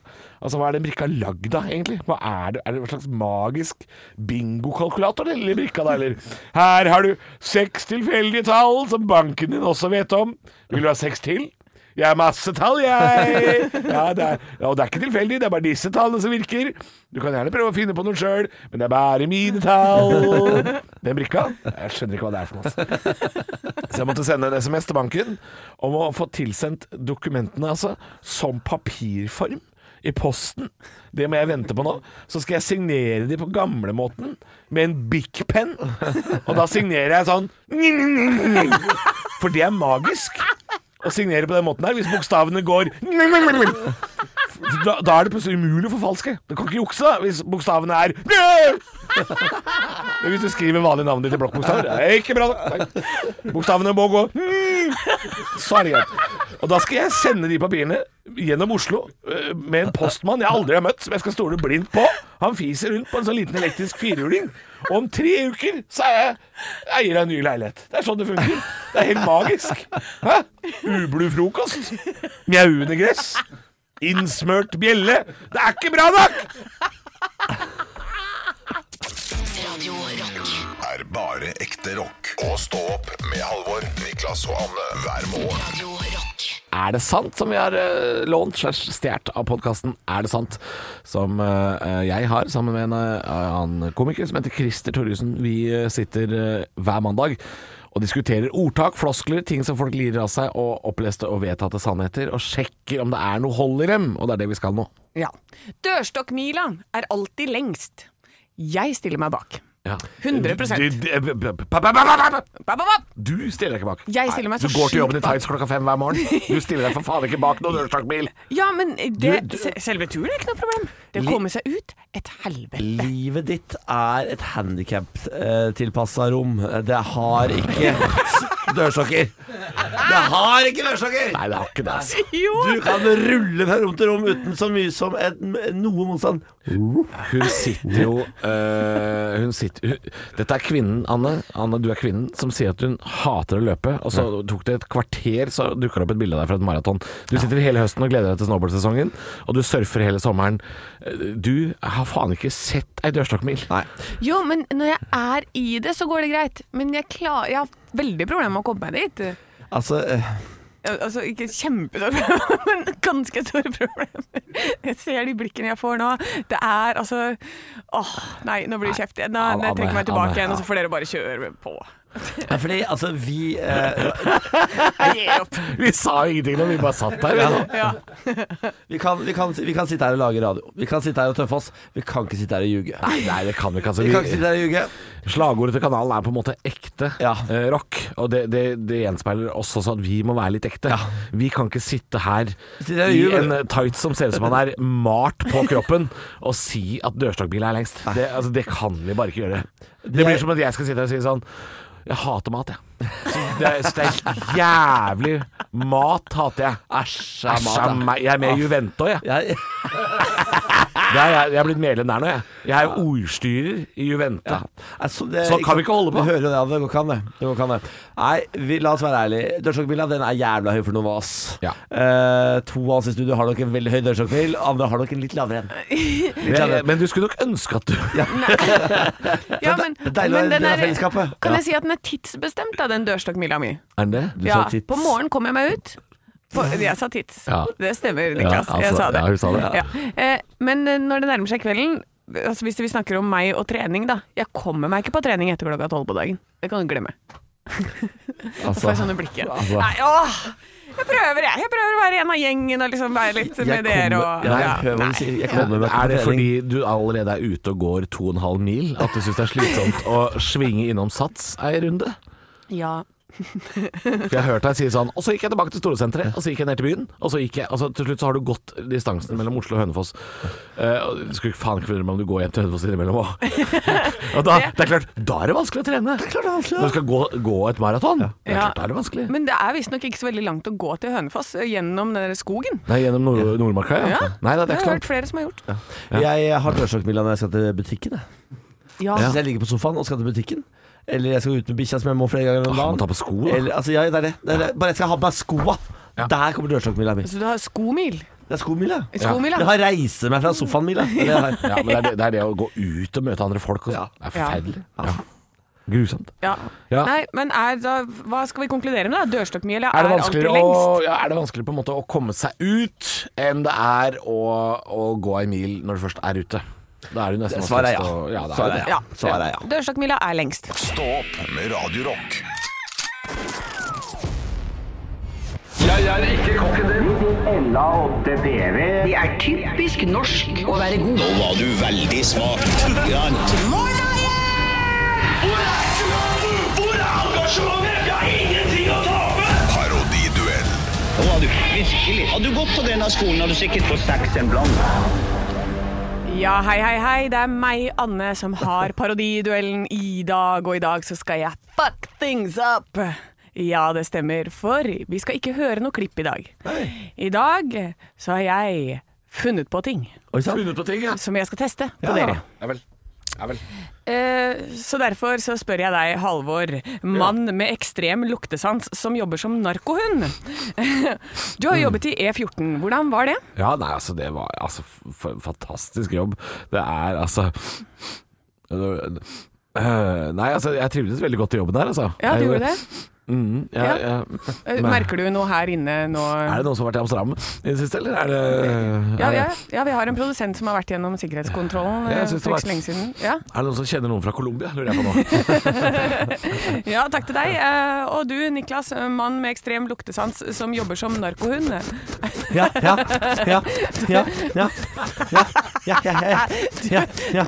Altså, Hva er den brikka lagd av, egentlig? Hva Er det Er det en slags magisk bingokalkulator, den lille brikka da, eller? Her har du seks tilfeldige tall som banken din også vet om. Vil du ha seks til? Jeg har masse tall, jeg! Ja, det er, ja, og det er ikke tilfeldig, det er bare disse tallene som virker. Du kan gjerne prøve å finne på noe sjøl, men det er bare mine tall. Den brikka? Jeg skjønner ikke hva det er for noe. ass. Så jeg måtte sende en SMS til banken om å få tilsendt dokumentene, altså, som papirform. I posten. Det må jeg vente på nå. Så skal jeg signere de på gamlemåten med en big pen. Og da signerer jeg sånn For det er magisk å signere på den måten her hvis bokstavene går da, da er det plutselig umulig å forfalske. Du kan ikke jukse da, hvis bokstavene er Men hvis du skriver vanlige navnet ditt i blokkbokstaver, det er ikke bra. Nei. Bokstavene må gå Så er det greit. Og da skal jeg sende de papirene gjennom Oslo eh, med en postmann jeg aldri har møtt, som jeg skal stole blindt på. Han fiser rundt på en sånn liten elektrisk firhjuling. Og om tre uker så er jeg eier av en ny leilighet. Det er sånn det funker. Det er helt magisk. Hæ? Ublu frokost. Mjauende gress. Innsmørt bjelle. Det er ikke bra nok!
Radio Rock.
Er bare ekte rock. Og stå opp med Halvor, Niklas og Anne hver morgen.
Radio Rock.
Er det sant som vi har eh, lånt slash stjålet av podkasten Er det sant? Som eh, jeg har sammen med en eh, annen komiker som heter Christer Torjussen. Vi eh, sitter eh, hver mandag og diskuterer ordtak, floskler, ting som folk lirer av seg, og oppleste og vedtatte sannheter, og sjekker om det er noe hold i dem. Og det er det vi skal nå.
Ja. Dørstokkmila er alltid lengst. Jeg stiller meg bak.
Ja.
100%.
Du, du, du- pa- pa- pa- pa- pa-
Ba, ba, ba.
du stiller deg ikke bak.
Jeg stiller meg
Nei,
så
Du går til
sjukt
jobben i tights klokka fem hver morgen. Du stiller deg for faen ikke bak noen dørstokkbil.
Ja, men det,
Du- du-
se- selve turen er ikke noe problem. Det å
Li-
komme seg ut et helvete.
Livet ditt er et handikap-tilpassa rom. Det har ikke s- dørstokker. Det har ikke dørstokker!
Nei, det har ikke det, altså.
Du kan rulle fra rom til rom uten så mye som et, noe motstand.
Hun sitter jo øh, Hun sitter hun, Dette er kvinnen, Anne. Anne, du er kvinnen som sier at hun hater å løpe. Og så tok det et kvarter, så dukka det opp et bilde av deg fra et maraton. Du sitter hele høsten og gleder deg til snowboardsesongen, og du surfer hele sommeren. Eh, Du har faen ikke sett ei dørstokkmil.
Nei.
Jo, men når jeg er i det, så går det greit. Men jeg, klar, jeg har veldig problemer med å komme meg dit.
Altså eh,
Ja, Altså, ikke kjempestore problemer, men ganske store problemer. Jeg ser de blikkene jeg får nå. Det er altså Åh, nei, nå blir det kjeft igjen. Nå-
Anne,
Jeg trekker meg tilbake
Anne,
igjen, og så får dere bare kjøre på.
ja, Fordi altså, vi eh,
Jeg gir opp.
Vi sa jo ingenting når vi bare satt der. vi.
Ja.
vi kan, vi, kan, vi kan sitte her og lage radio. Vi kan sitte her og tøffe oss. Vi kan ikke sitte her og ljuge.
Nei, nei, det kan vi ikke. Altså.
Vi kan ikke
Vi,
sitte her og ljuge.
slagordet til kanalen er på en måte ekte
Ja.
eh, rock. Og det, det, det gjenspeiler oss også sånn at vi må være litt ekte. Vi kan ikke sitte her
Sitte her
i
og ljuge.
en eh, tights som ser ut som han er malt på kroppen, og si at dørstokkbil er lengst. Det, altså, det kan vi bare ikke gjøre. Det blir som at jeg skal sitte her og si sånn Jeg hater mat, jeg. Så det, er- så det er jævlig Mat hater jeg.
Æsj av
Æsj av
mat.
meg. Jeg er med i Juvento, jeg.
ja. Jeg,
Det er, jeg, jeg er blitt medlem der nå, jeg. Jeg er ordstyrer i Juvente.
Altså, det,
Sånn kan vi ikke holde på.
Du hører jo det, ja, det går ikke an, det. det, går ikke an, det. Nei, vi, la oss være ærlige. Dørstokkmila den er jævla høy for noen av oss.
Ja.
Eh, to av oss i studio har nok en veldig høy dørstokkmil, andre har nok en litt lavere en. Litt lavere
Men,
en.
men du skulle nok ønske at du
Ja, men,
det er deilig å være
men
en
den
del av
er-
fellesskapet.
Kan jeg si at den er tidsbestemt, da, den dørstokkmila mi?
Er det?
Ja,
sa tids.
på morgenen kom jeg meg ut. På, jeg sa tids.
Ja.
Det stemmer, Niklas.
Ja, altså,
jeg sa det.
ja, hun sa det.
Ja. Eh, men eh, når det nærmer seg kvelden altså Hvis vi snakker om meg og trening, da. Jeg kommer meg ikke på trening etter klokka tolv på dagen. Det kan du glemme. Så får jeg sånne blikk igjen. Nei, åh! Jeg prøver, jeg. Jeg prøver å være en av gjengen og liksom være litt med dere og
Nei,
ja,
hør hva
nei.
du sier. Jeg kommer meg
Er det
på trening.
fordi du allerede er ute og går 2,5 mil at du syns det er slitsomt å svinge innom Sats ei runde?
ja.
For jeg har hørt deg si sånn Og så gikk jeg tilbake til Storesenteret, og så gikk jeg ned til byen, og så gikk jeg Og så til slutt så har du gått distansen mellom Oslo og Hønefoss. Eh, og det skulle faen ikke forundre meg om du går hjem til Hønefoss innimellom òg. Og da, det er klart, da er det vanskelig å trene. Det er klart det er
altså.
vanskelig Når du skal gå, gå et maraton. Det er
Ja.
klart, da er det vanskelig.
Men det er visstnok ikke så veldig langt å gå til Hønefoss eh, gjennom den der skogen.
Nei, gjennom Nord Nordmarka, ja.
Ja.
Nei, da, det er ikke
Det har jeg
sant.
hørt flere som har gjort.
Jeg har dørstokkmila når jeg skal til butikken. Jeg.
Ja.
Hvis jeg ligger på sofaen og skal til butikken, eller jeg skal ut med bikkja som jeg må flere ganger om
Åh, Ah, må ta
dagen
på sko, da.
eller, altså, ja, det er det. det, er det. Bare jeg skal ha på meg skoa.
Ja.
Der kommer dørstokkmila mi.
Så du har skomil?
Det er skomila.
Skomil,
Jeg
ja.
har reise meg fra sofaen, Mila. Det er det jeg har.
Ja, men det er det, det er det å gå ut og møte andre folk og sånn. Det er forferdelig. Ja. Grusomt.
ja.
Ja.
Nei, men er da, hva skal vi konkludere med da?
Er det,
Dørstokkmila alltid
vanskeligere å,
lengst.
ja, er det vanskeligere på en måte å komme seg ut enn det er å, å gå ei mil når du først er ute? Da er det jo nesten
Svaret er
vanskeligst å- ja,
ja.
det er jo
Svaret
det.
er ja. Svaret er ja.
Dørstokkmila er lengst.
Stå opp med Radio Rock. Jeg er ikke kokken din. Ella og DPV. De er typisk norsk å være god. Nå var du veldig smak.
Hvor er engasjementet? Jeg har ingenting å tape!
Parodiduell.
Nå har du virkelig Har du gått på denne skolen, har du sikkert fått seks en blant.
Ja, hei, hei, hei. Det er meg, Anne, som har parodiduellen i dag. Og i dag så skal jeg fuck things up. Ja, det stemmer, for vi skal ikke høre noe klipp i dag. I dag så har jeg funnet på ting
Oi sann.
Funnet på ting, ja.
som jeg skal teste på dere.
Ja vel. Ja vel.
Eh, Så derfor så spør jeg deg, Halvor, mann med ekstrem luktesans som jobber som narkohund. Du har
Mm.
jobbet i E14. Hvordan var det?
Ja, nei, altså det var altså, f f- fantastisk jobb. Det er altså Øh, Nei, altså jeg trivdes veldig godt i jobben der, altså.
Ja,
Jeg
du
gjorde-
gjorde det.
Mm, jeg,
Ja.
jeg,
Eh, Merker du noe her inne nå?
er det noen som har vært i Amsterdam i det siste, eller er det
Ja,
er det-
ja, ja, vi har en produsent som har vært gjennom sikkerhetskontrollen
Ja,
eh,
jeg synes det
for
var-
ikke så lenge siden. Ja.
Er det noen som kjenner noen fra Colombia, lurer jeg på nå.
ja, takk til deg. Eh, Og du, Niklas, mann med ekstrem luktesans som jobber som narkohund.
Ja, ja, ja, ja, ja, ja, ja, ja, ja, ja, ja.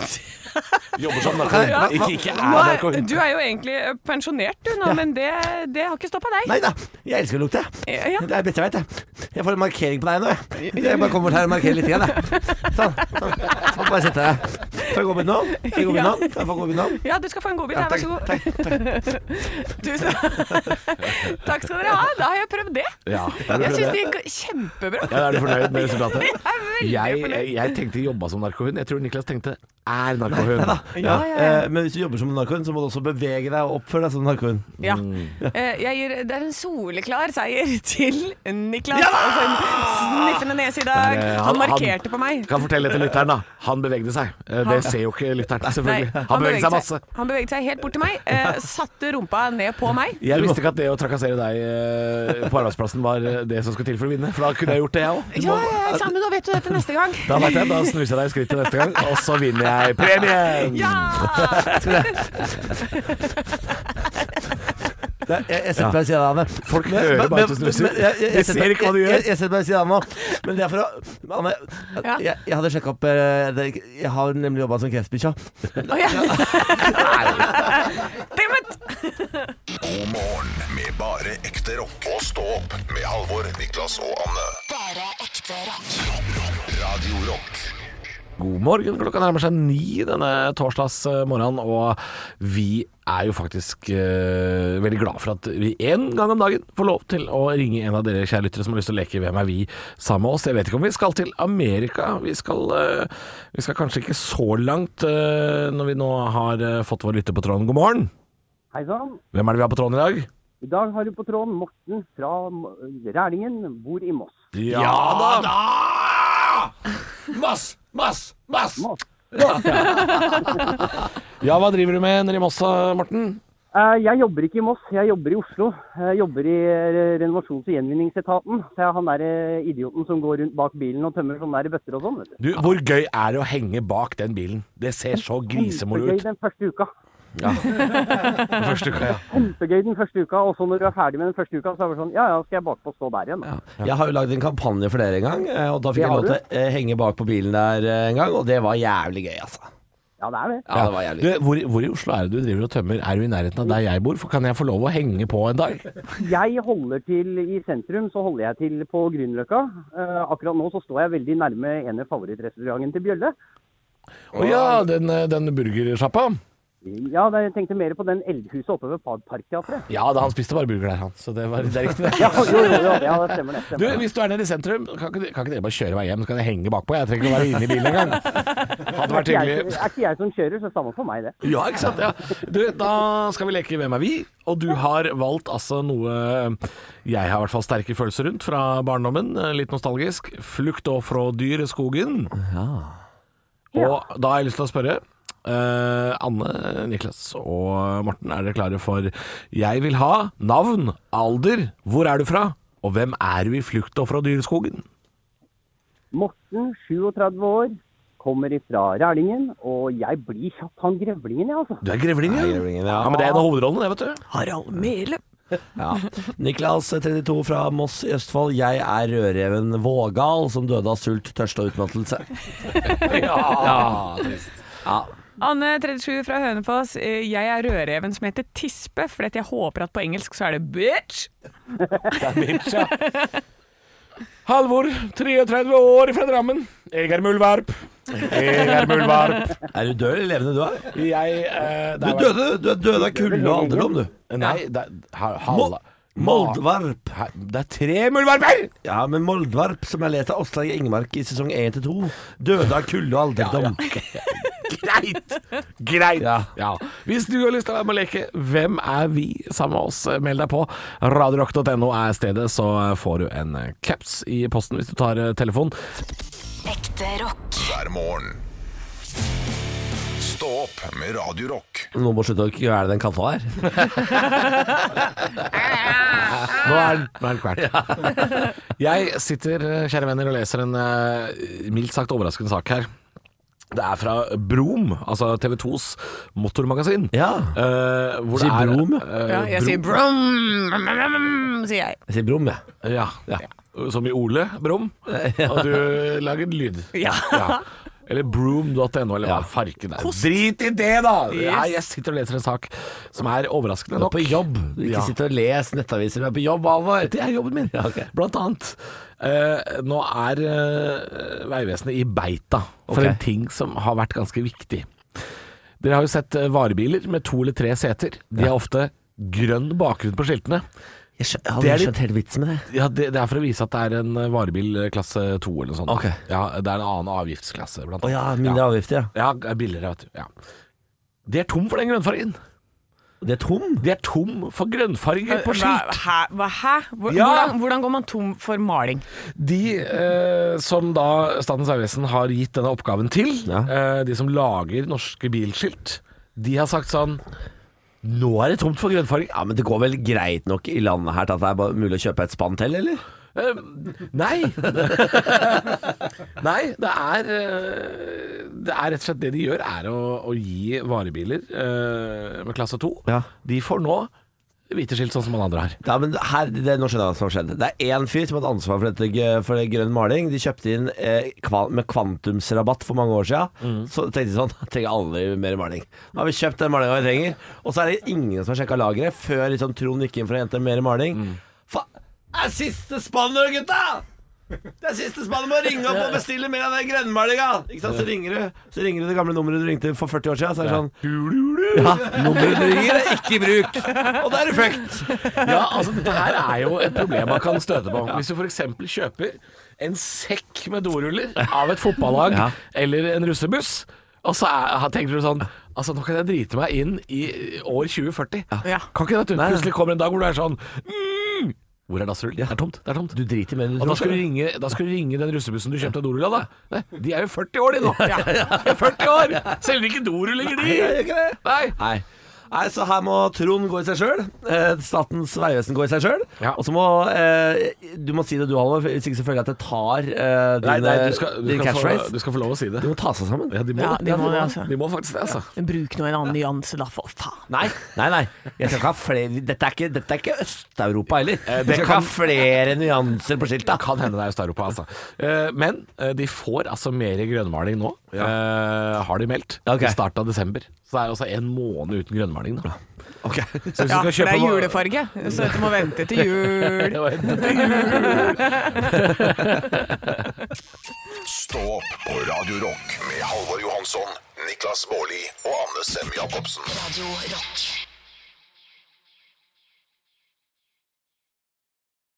Jobber som narkoman. Ikke, ikke er narkoman.
Du er jo egentlig pensjonert du nå,
Ja.
men det, det har ikke stoppa deg.
Nei da, jeg elsker å lukte. jeg.
Ja, ja.
Det er det beste jeg vet. Jeg. jeg får en markering på deg nå. Jeg, jeg bare kommer bort her og markerer litt. Igjen, jeg. Sånn. sånn. Så får jeg sette deg. Får jeg gå med innom? Får jeg gå med innom? Kan jeg få gå med innom?
Ja, du skal få en godbit her, vær så god.
takk, takk.
Tusen Takk skal dere ha. Da har jeg prøvd det.
Ja, er
Jeg
du,
syns det gikk kjempebra.
ja, er du fornøyd med resultatet?
Jeg er veldig
Jeg,
fornøyd.
jeg, jeg tenkte jobba som narkohund. Jeg tror Niklas tenkte er narkohund.
Ja, eh, Men hvis du jobber som en narkohund, så må du også bevege deg og oppføre deg som en narkohund.
Ja.
mm.
Eh, Jeg gir, det er en soleklar seier til Niklas. Altså en sniffende nese i dag.
Der, eh, han-
Han markerte på meg.
Kan fortelle det til lytteren, da. Han bevegde seg. Eh, Det ser jo ikke lytteren,
Nei,
selvfølgelig. Han beveget seg masse.
Han beveget seg helt bort til meg. eh, Satte rumpa ned på meg.
Jeg visste ikke at det å trakassere deg eh, på arbeidsplassen var eh, det som skulle til for å vinne, for da kunne jeg gjort det, jeg òg.
Ja, ja, ja, men nå vet du dette neste gang.
Da vet jeg, da snuser jeg deg i skrittet neste gang, og så vinner jeg premien!
Ja!
Det er- Jeg, jeg setter meg ved siden av henne.
Folk hører bare at du snuser.
men- jeg- jeg- jeg
De ser
setter meg-
ikke hva du
jeg-
gjør.
Jeg, jeg setter meg ved siden av henne nå. Men det er for å Anne,
Ja.
jeg, jeg hadde sjekka opp eh, det, Jeg har nemlig jobba som kreftbikkja.
Å, ja. Damn it!
God morgen med bare ekte rock. Og stå opp med Halvor, Niklas og Anne.
Bare ekte rock.
Radio Rock.
God morgen, klokka nærmer seg ni denne torsdags eh, morgenen, og vi er jo faktisk eh, veldig glad for at vi en gang om dagen får lov til å ringe en av dere kjære lyttere som har lyst til å leke Hvem er vi sammen med oss. Jeg vet ikke om vi skal til Amerika. Vi skal, eh, vi skal kanskje ikke så langt eh, når vi nå har eh, fått vår lytter på tråden. God morgen!
Hei sann.
Hvem er det vi har på tråden i dag?
I dag har du på tråden Morten fra M- Rælingen, bor i Moss.
Ja, da! Mass! Mass! Mass!
Moss.
Ja, hva driver du med nede i Mossa, Morten?
Eh, Jeg jobber ikke i Moss, jeg jobber i Oslo. Jeg jobber i eh, renovasjons- og gjenvinningsetaten. Så jeg er han derre idioten som går rundt bak bilen og tømmer sånne der bøtter og sånn, vet du.
Du, hvor gøy er det å henge bak den bilen? Det ser så grisemoro
Kjempegøy
ut.
den første uka.
Den første uka, ja.
Kjempegøy den første uka, og så når du er ferdig med den første uka, så er det sånn Ja ja, skal jeg bakpå stå der igjen, da.
Jeg har jo lagd en kampanje for dere en gang, eh, og da fikk
Det
jeg
har
lov til å eh, henge bak på bilen der eh, en gang, og det var jævlig gøy, altså.
Ja, det er det.
Ja, det var jævlig
Du, hvor, hvor i Oslo er det du driver og tømmer? Er du i nærheten av der jeg bor? For kan jeg få lov å henge på en dag?
Jeg holder til i sentrum, så holder jeg til på Grünerløkka. Eh, akkurat nå så står jeg veldig nærme en av favorittrestaurantene til Bjølle.
Å ja, den, eh, den burgersjappa?
Ja, da- jeg tenkte mer på den eldhuset oppe ved Par- Parkteatret.
Ja, da, han spiste bare burger der, han. Så det, var, det er riktig, det.
Ja, jo, jo, jo, ja, det stemmer det.
Du,
Stemmer. det.
hvis du er nede i sentrum, kan ikke, kan ikke dere bare kjøre meg hjem? Så kan jeg henge bakpå. Jeg trenger ikke å være inne i bilen engang. Hadde vært
Er
hyggelig.
ikke, jeg, er ikke jeg som kjører, så samme for meg det.
Ja, ikke sant? Ja. Du, da skal vi leke Hvem er vi? Og du har valgt altså noe jeg har i hvert fall sterke følelser rundt fra barndommen. eh, Litt nostalgisk. 'Flukt og fra dyr i skogen'. Og da har jeg lyst til å spørre eh, Anne, Niklas og Morten, er dere klare for 'Jeg vil ha navn, alder, hvor er du fra?' Og hvem er du i 'Flukt og fra dyreskogen'?
Morten, 37 år, kommer ifra Rælingen, og jeg blir kjapt han grevlingen, jeg, altså.
Du er grevling,
Nei,
ja.
grevlingen,
ja. Men det er en av hovedrollene, det, vet du.
Harald Mele.
Ja. Niklas, 32, fra Moss i Østfold. Jeg er rødreven Vågal, som døde av sult, tørste og utmattelse.
Anne 37 fra Hønefoss. eh, Jeg er rødreven som heter Tispe, fordi at jeg håper at på engelsk så er det bitch.
Halvor, 33 år fra Drammen. Jeg er muldvarp. Jeg er muldvarp.
Er du død eller levende, du er?
Jeg eh,
Du
det er-
døde, du er død av kulde og alderdom, du.
Nei, det er ha-
Mo-
halla.
Moldvarp.
Hæ, Det er tre muldvarper!
Ja, men Moldvarp, som er lest av Åslaug Engmark i sesong 1 til 2, døde av kulde og alderdom.
Greit! Greit. Ja.
Ja.
Hvis du har lyst til å være med og leke Hvem er vi sammen med oss, meld deg på. Radiorock.no er stedet, så får du en eh, caps i posten hvis du tar eh, telefonen.
Ekte rock.
Hver morgen. Stå opp med Radio Rock.
Nå må slutte å kvele den katta der.
Nå er den- nå er den kvart. Jeg sitter, eh, kjære venner, og leser en eh, mildt sagt overraskende sak her. Det er fra Brom, altså TV 2s motormagasin.
Ja.
Eh, hvor
Sier
det er,
Brom, ja.
eh,
Ja, jeg sier brum, brum, brum, brum, sier jeg.
Jeg sier Brum, jeg.
Ja, ja. Som i Ole Brom. Og du lager lyd.
Ja.
Ja. Eller broom.no, eller hva farken er. Drit i det, da! Ja, jeg sitter og leser en sak som er overraskende
Du er
nok.
på jobb. Du ikke
Ja.
sitter og leser nettaviser, du er på jobb, Alvar.
Det er jobben min,
Ja, ok.
blant annet. Eh, nå er eh, Vegvesenet i beita for
Ok.
en ting som har vært ganske viktig. Dere har jo sett eh, varebiler med to eller tre seter. De har ofte grønn bakgrunn på skiltene.
Jeg skjø- jeg
Det er
hadde ikke
litt-
skjønt helt vitsen med det.
Ja, det, det er for å vise at det er en eh, varebil eh, klasse 2 eller noe sånt.
Ok.
Ja, det er en annen avgiftsklasse. Blant
Å ja, mindre avgifter, ja.
Ja, er billigere, vet du. Ja. De er tom for den grønnfargen.
Det er tom.
De er tom for grønnfarge
Eh,
på skilt.
Hva, hæ? Hæ? Hvor-
Ja.
Hvordan, hvordan går man tom for maling?
De eh, som da Statens vegvesen har gitt denne oppgaven til, eh, de som lager norske bilskilt, de har sagt sånn Nå er det tomt for grønnfarge.
Ja, men det går vel greit nok i landet her til at det er bare mulig å kjøpe et spann til, eller?
Eh, nei. nei, det er eh, Det er rett og slett det de gjør, er å, å gi varebiler eh, med klasse 2
Ja.
De får nå hvite skilt sånn som alle andre har.
Ja, men her, det, Nå skjønner jeg hva som har skjedd. Det er én fyr som hadde ansvar for, dette, gø- for det grønn maling. De kjøpte inn eh, kva, med kvantumsrabatt for mange år siden.
Mm.
Så tenkte de sånn Trenger aldri mer maling. Nå har vi kjøpt den malinga vi trenger. Og så er det ingen som har sjekka lageret før liksom, Trond gikk inn for å hente mer maling.
Mm.
Fa det er siste spann nå, gutta! Det er siste spann må ringe opp og bestille mer av den grønnmalinga! Ikke sant? Så ringer du Så ringer du det gamle nummeret du ringte for 40 år siden. Så er det sånn Ja, nummeret du ringer er ikke i bruk! Og da er du fucked!
Ja, altså Dette her er jo et problem man kan støte på. Hvis du f.eks. kjøper en sekk med doruller av et fotballag
Ja.
eller en russebuss, og så er, tenker du sånn Altså, nå kan jeg drite meg inn i år 2040.
Ja.
Kan ikke det at du plutselig kommer en dag hvor du er sånn mm, Hvor er dassrullen? Det er tomt. det er tomt
Du driter med det.
og da skal, du ringe, da skal du ringe den russebussen du kjøpte av dorulla, da. Nei, De er jo 40 år, de nå. De er 40 år! Selger ikke doruller,
Nei, jeg gjør
de!
ikke det.
Nei.
Nei. Nei, så her må Trond gå i seg sjøl. Eh, Statens vegvesen gå i seg sjøl.
Ja.
Og så må eh, Du må si det du, Halvor, hvis ikke så føler jeg at jeg tar eh, din,
Nei, nei, du skal, du, skal
din
få,
catchphrase.
du skal få lov å si det.
De må ta seg sammen.
Ja, de må,
Ja,
det.
de må det, altså.
de må faktisk det, altså.
Bruk nå en annen nyanse, da, for faen.
Nei, nei, nei. Jeg skal ikke ha flere Dette er ikke, dette er ikke Øst-Europa heller.
Eh, det
Vi skal ikke
kan-
ha flere nyanser på skiltet.
Kan hende det er Øst-Europa, altså. Eh, Men eh, de får altså mer grønnmaling nå, eh, har de meldt.
Ja, ok.
I starten av desember. Så det er altså en måned uten grønnmaling nå.
Ok.
Så hvis
Ja,
du
for
skal
det er
kjøpe
julefarge, så dette må vente til jul.
Stå opp på Radio Rock med Halvor Johansson, Niklas Baarli og Anne Sem Jacobsen.
Radio Rock.